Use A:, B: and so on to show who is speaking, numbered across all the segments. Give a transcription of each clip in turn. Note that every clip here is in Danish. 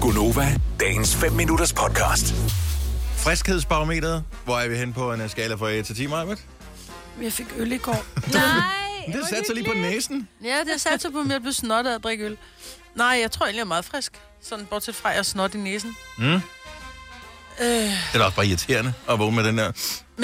A: Gunova, dagens 5 minutters podcast.
B: Friskhedsbarometeret. Hvor er vi hen på en øh, skala fra 1 til 10, Marvitt?
C: Jeg fik øl i går.
D: Nej,
B: Det satte sig lige på næsen.
C: Ja, det satte sig på, at jeg blev snottet af at drikke øl. Nej, jeg tror egentlig, jeg er meget frisk. Sådan bortset fra, at jeg er snot i næsen.
B: Det er da også bare irriterende at vågne med den der.
C: Men,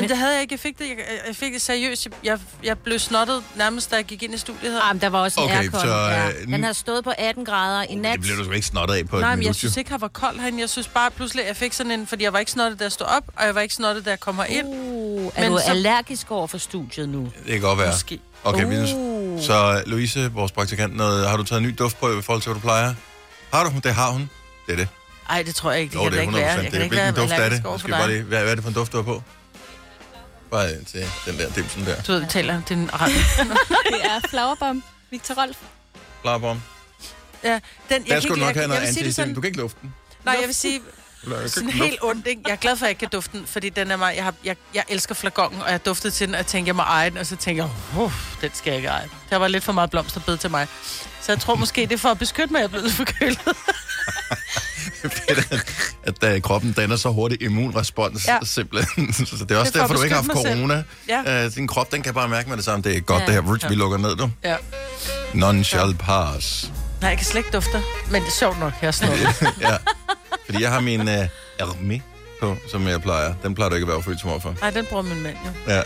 C: Men det havde jeg ikke. Jeg fik det, jeg, jeg fik det seriøst. Jeg- Jeg, jeg blev snottet nærmest, da jeg gik ind i studiet her.
D: Ah, men der var også en
B: Okay,
D: okay, aircon.
B: så,
D: Så,
B: øh,
D: ja. Den
B: n-
D: har stået på 18 grader i nat.
B: Det bliver du sgu ikke snottet af på
C: Nej,
B: et
C: men jeg
B: minut.
C: synes
B: jo.
C: ikke, han var kold herinde. Jeg synes bare at pludselig, at jeg fik sådan en... Fordi jeg var ikke snottet, da jeg stod op, og jeg var ikke snottet, da jeg kom herind. Uh,
D: Uh, er
C: Men
D: men du
C: så-
D: så... allergisk over for studiet nu?
B: Det kan godt være.
C: Måske.
B: Okay,
D: Uh.
B: minus. Så Louise, vores praktikant, noget, har du taget en ny duft på i forhold til, hvad du plejer? Har du? Det har hun. Det er det.
C: Ej, det tror jeg ikke. Det
B: Jo, det
C: kan da
B: er
C: ikke
B: 100
C: være. Jeg
B: procent.
C: kan ikke
B: Hvilken
C: være
B: duft er Altså, det?
C: allergisk over
B: Jeg
C: for
B: skal bare
C: dig.
B: lige, hvad, hvad er det for en duft, du har på? Bare til den der dimsen der.
C: Du ved, vi taler om den
E: Det er flowerbomb. Victor Rolf.
B: Klar på om.
C: Ja, den,
B: Der
C: kan
B: skulle
C: ikke-
B: nok have noget
C: jeg vil sige det
B: antistem. Du
C: sådan,
B: kan ikke lufte den.
C: Nej, jeg vil sige,
B: Du kan ikke
C: Sådan
B: lufte
C: helt ondt, ikke? Jeg er glad for, at jeg ikke kan dufte den, fordi den er mig. Jeg, har, jeg, jeg elsker flagongen, og jeg duftede til den, og jeg tænkte, jeg må eje den, og så tænkte jeg, uff, den skal jeg ikke eje. Der var lidt for meget blomsterbed til mig. Så jeg tror måske, det er for at beskytte mig, at jeg er blevet lidt forkølet.
B: fedt, at- at da kroppen danner så hurtig immunrespons, ja.
C: Ja.
B: simpelthen. Så det er også
C: Det er for
B: derfor,
C: at
B: du ikke har haft
C: beskytte mig selv.
B: corona.
C: Ja.
B: Øh, din krop, den kan bare mærke med det samme. Det er godt, ja.
D: Ja.
B: det her. Rich, ja. vi lukker ned, du.
C: Ja.
B: None shall pass.
C: Nej, jeg kan slet ikke dufte, men det er sjovt nok, jeg er sådan noget.
B: ja. Fordi jeg har min øh, armé på, som jeg plejer. Den plejer du ikke at være følsom overfor.
C: Nej, den bruger min mand jo.
B: Ja.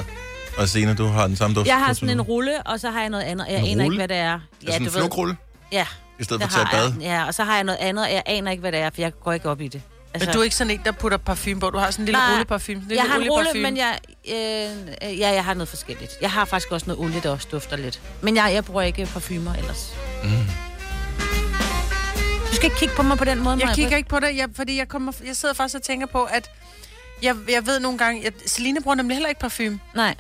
B: Og Signe, du har den samme duft.
D: Jeg har
B: på,
D: sådan
B: synes
D: en
B: du?
D: rulle, og så har jeg noget andet. Jeg
B: En
D: aner
B: rulle?
D: ikke, hvad det er.
B: Ja, sådan en flugrulle,
D: Ja,
B: i stedet
D: det
B: for at tage
D: har
B: bad.
D: jeg. Ja, og så har jeg noget andet, og jeg aner ikke, hvad det er, for jeg går ikke op i det.
C: Men du er ikke sådan en, der putter parfume på. Du har sådan en lille
D: Nej,
C: rulleparfume. Lille
D: jeg har en rulle,
C: olieparfume.
D: men jeg, øh, øh, ja, jeg har noget forskelligt. Jeg har faktisk også noget olie, der også dufter lidt. Men jeg, jeg bruger ikke parfumer ellers. Mm. Du skal ikke kigge på mig på den måde,
C: Jeg
D: Maja.
C: kigger ikke på det, jeg, fordi jeg, kommer, jeg sidder faktisk og tænker på, at jeg, jeg ved nogle gange... Jeg, Celine bruger nemlig heller ikke parfume.
D: Nej.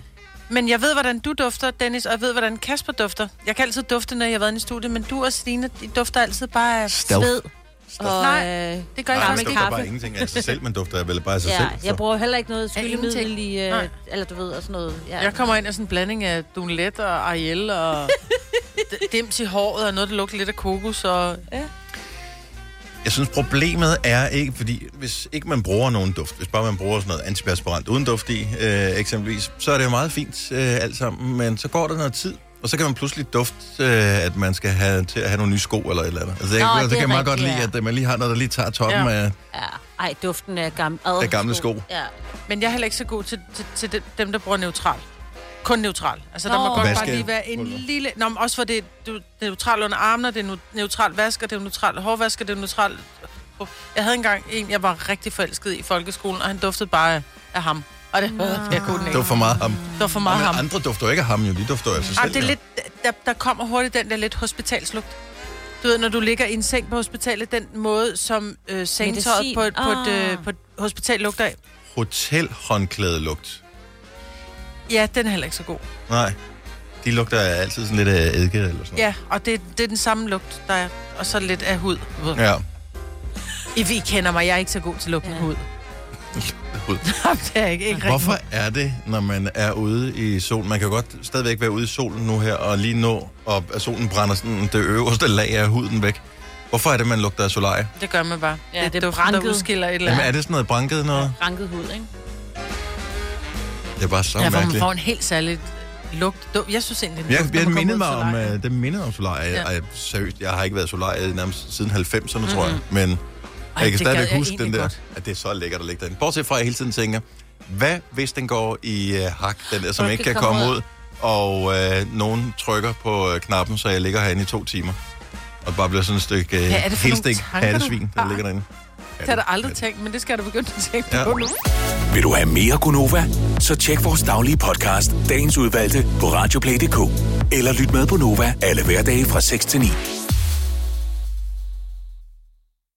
C: Men jeg ved, hvordan du dufter, Dennis, og jeg ved, hvordan Kasper dufter. Jeg kan altid dufte, når jeg har været inde i studiet, men du og Stine, de dufter altid bare... af-
B: Stealth.
D: Sved. Og,
C: Nej,
D: øh,
C: Det gør jeg
B: Nej, man
D: Gammel
C: faktisk ikke.
B: dufter
D: kaffe.
B: bare ingenting af sig selv, men dufter vel bare af sig
D: Ja,
B: Altså selv.
D: jeg bruger heller ikke noget skyllemiddel
E: ingenting.
D: i,
C: Nej.
D: øh, eller du ved, og sådan noget. Ja.
C: Jeg kommer ind af sådan en blanding af Dunlet og Ariel og d- dims i håret og noget, der lugter lidt af kokos. Og...
B: Jeg synes, problemet er ikke, fordi hvis ikke man bruger nogen duft, hvis bare man bruger sådan noget antiperspirant uden duft i, øh, eksempelvis, så er det jo meget fint øh, alt sammen, men så går der noget tid, og så kan man pludselig dufte, øh, at man skal have til at have nogle nye sko eller et eller andet. Altså, det,
D: Nå,
B: Nå, det,
D: det
B: det
D: er
B: kan jeg meget godt
D: rigtigt,
B: lide,
D: ja.
B: at øh, man lige har noget, der lige tager toppen ja.
C: Ja.
B: af...
D: ja. Ej, duften af, gam-
B: Af gamle sko.
D: Ja.
C: Men jeg er heller ikke så god til, til, til de- dem, der bruger neutral. Kun neutral. Altså, der
D: Nå.
C: må godt
B: Vaske-
C: bare lige være en
B: pulver.
C: lille... Nå, men også for det, er- du- det er neutral under armene, det er nu- neutral vasker, det er neutral hårvasker, det er neutral... Jeg havde engang en, jeg var rigtig forelsket i folkeskolen, og han duftede bare af ham. Og det, jeg kunne den ikke.
B: Det var for meget ham.
C: Det var for meget
B: Og
C: ham.
B: andre dufter jo ikke af ham, jo. De dufter jo af sig
C: Ej,
B: selv.
C: det er
B: jo.
C: lidt, der, der kommer hurtigt den der lidt hospitalslugt. Du ved, når du ligger i en seng på hospitalet, den måde, som øh, sengtøjet
D: Medicin.
C: på, et- på, et,
D: Ah.
C: øh, på et hospital lugter af.
B: Hotelhåndklædelugt.
C: Ja, den er heller ikke så god.
B: Nej. De lugter altid sådan lidt af eddike eller sådan noget.
C: Ja, og det, det er den samme lugt, der er. Og så lidt af hud. Ja.
B: Ja.
C: I, I kender mig, jeg er ikke så god til lugt af
D: Ja.
C: hud.
B: Hud.
C: Jamen, det er jeg ikke, ikke rigtigt.
B: Hvorfor er det, når man er ude i solen? Man kan jo godt stadigvæk være ude i solen nu her, og lige nå, og at solen brænder sådan det øverste lag af huden væk. Hvorfor er det, man lugter af solarie?
C: Det gør man bare. Ja, det,
D: det
C: det
D: er
C: er duften, der
D: branket.
C: udskiller et eller
B: Jamen,
C: andet.
B: er det sådan noget branket noget?
D: Ranket hud, ikke?
B: Det er bare så
C: Ja,
B: ja,
C: hvor man
B: mærkeligt.
C: får en helt særlig lugt. Du- Jeg synes egentlig, den
B: Jeg,
C: lugt, når
B: jeg
C: man kommer
B: mindede
C: ud
B: mig
C: til
B: om,
C: lejren.
B: øh, det mindede om solarie.
C: Ja.
B: Ja. Ej, seriøst, jeg har ikke været i solarie nærmest siden 90'erne, mm-hmm. tror jeg. Men Ej, jeg kan
C: det gad
B: stadigvæk
C: jeg
B: huske den
C: egentlig
B: der,
C: godt.
B: at det er så lækkert at ligge derinde. Bortset fra, at jeg hele tiden tænker, hvad hvis den går i øh, hak, den der, som
D: Folk
B: ikke kan
D: kan
B: komme
D: komme
B: ud, og øh, nogen trykker på øh, knappen, så jeg ligger herinde i to timer, og bare bliver sådan et stykke øh,
C: Hvad er det for nogle
B: helstik
C: tanker, du
B: pattesvin, der
C: har?
B: ligger derinde.
C: Det har jeg da aldrig tænkt, men det skal jeg da begynde at tænke
B: Ja.
C: på nu.
A: Vil du have mere Gunova? Så tjek vores daglige podcast, dagens udvalgte, på radioplay.dk. Eller lyt med på Nova alle hverdage fra 6 til 9.